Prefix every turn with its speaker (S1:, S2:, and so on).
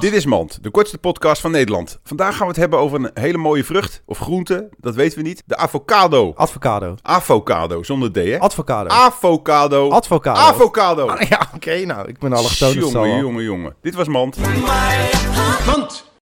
S1: Dit is Mand, de kortste podcast van Nederland. Vandaag gaan we het hebben over een hele mooie vrucht of groente, dat weten we niet. De avocado.
S2: Advocado.
S1: Avocado, zonder D hè?
S2: Advocado.
S1: Avocado.
S2: Advocado.
S1: Avocado.
S2: Ah, ja, oké, nou, ik ben allochtoon. dus het zal
S1: Jongen,
S2: wel.
S1: jongen, jongen. Dit was Mand.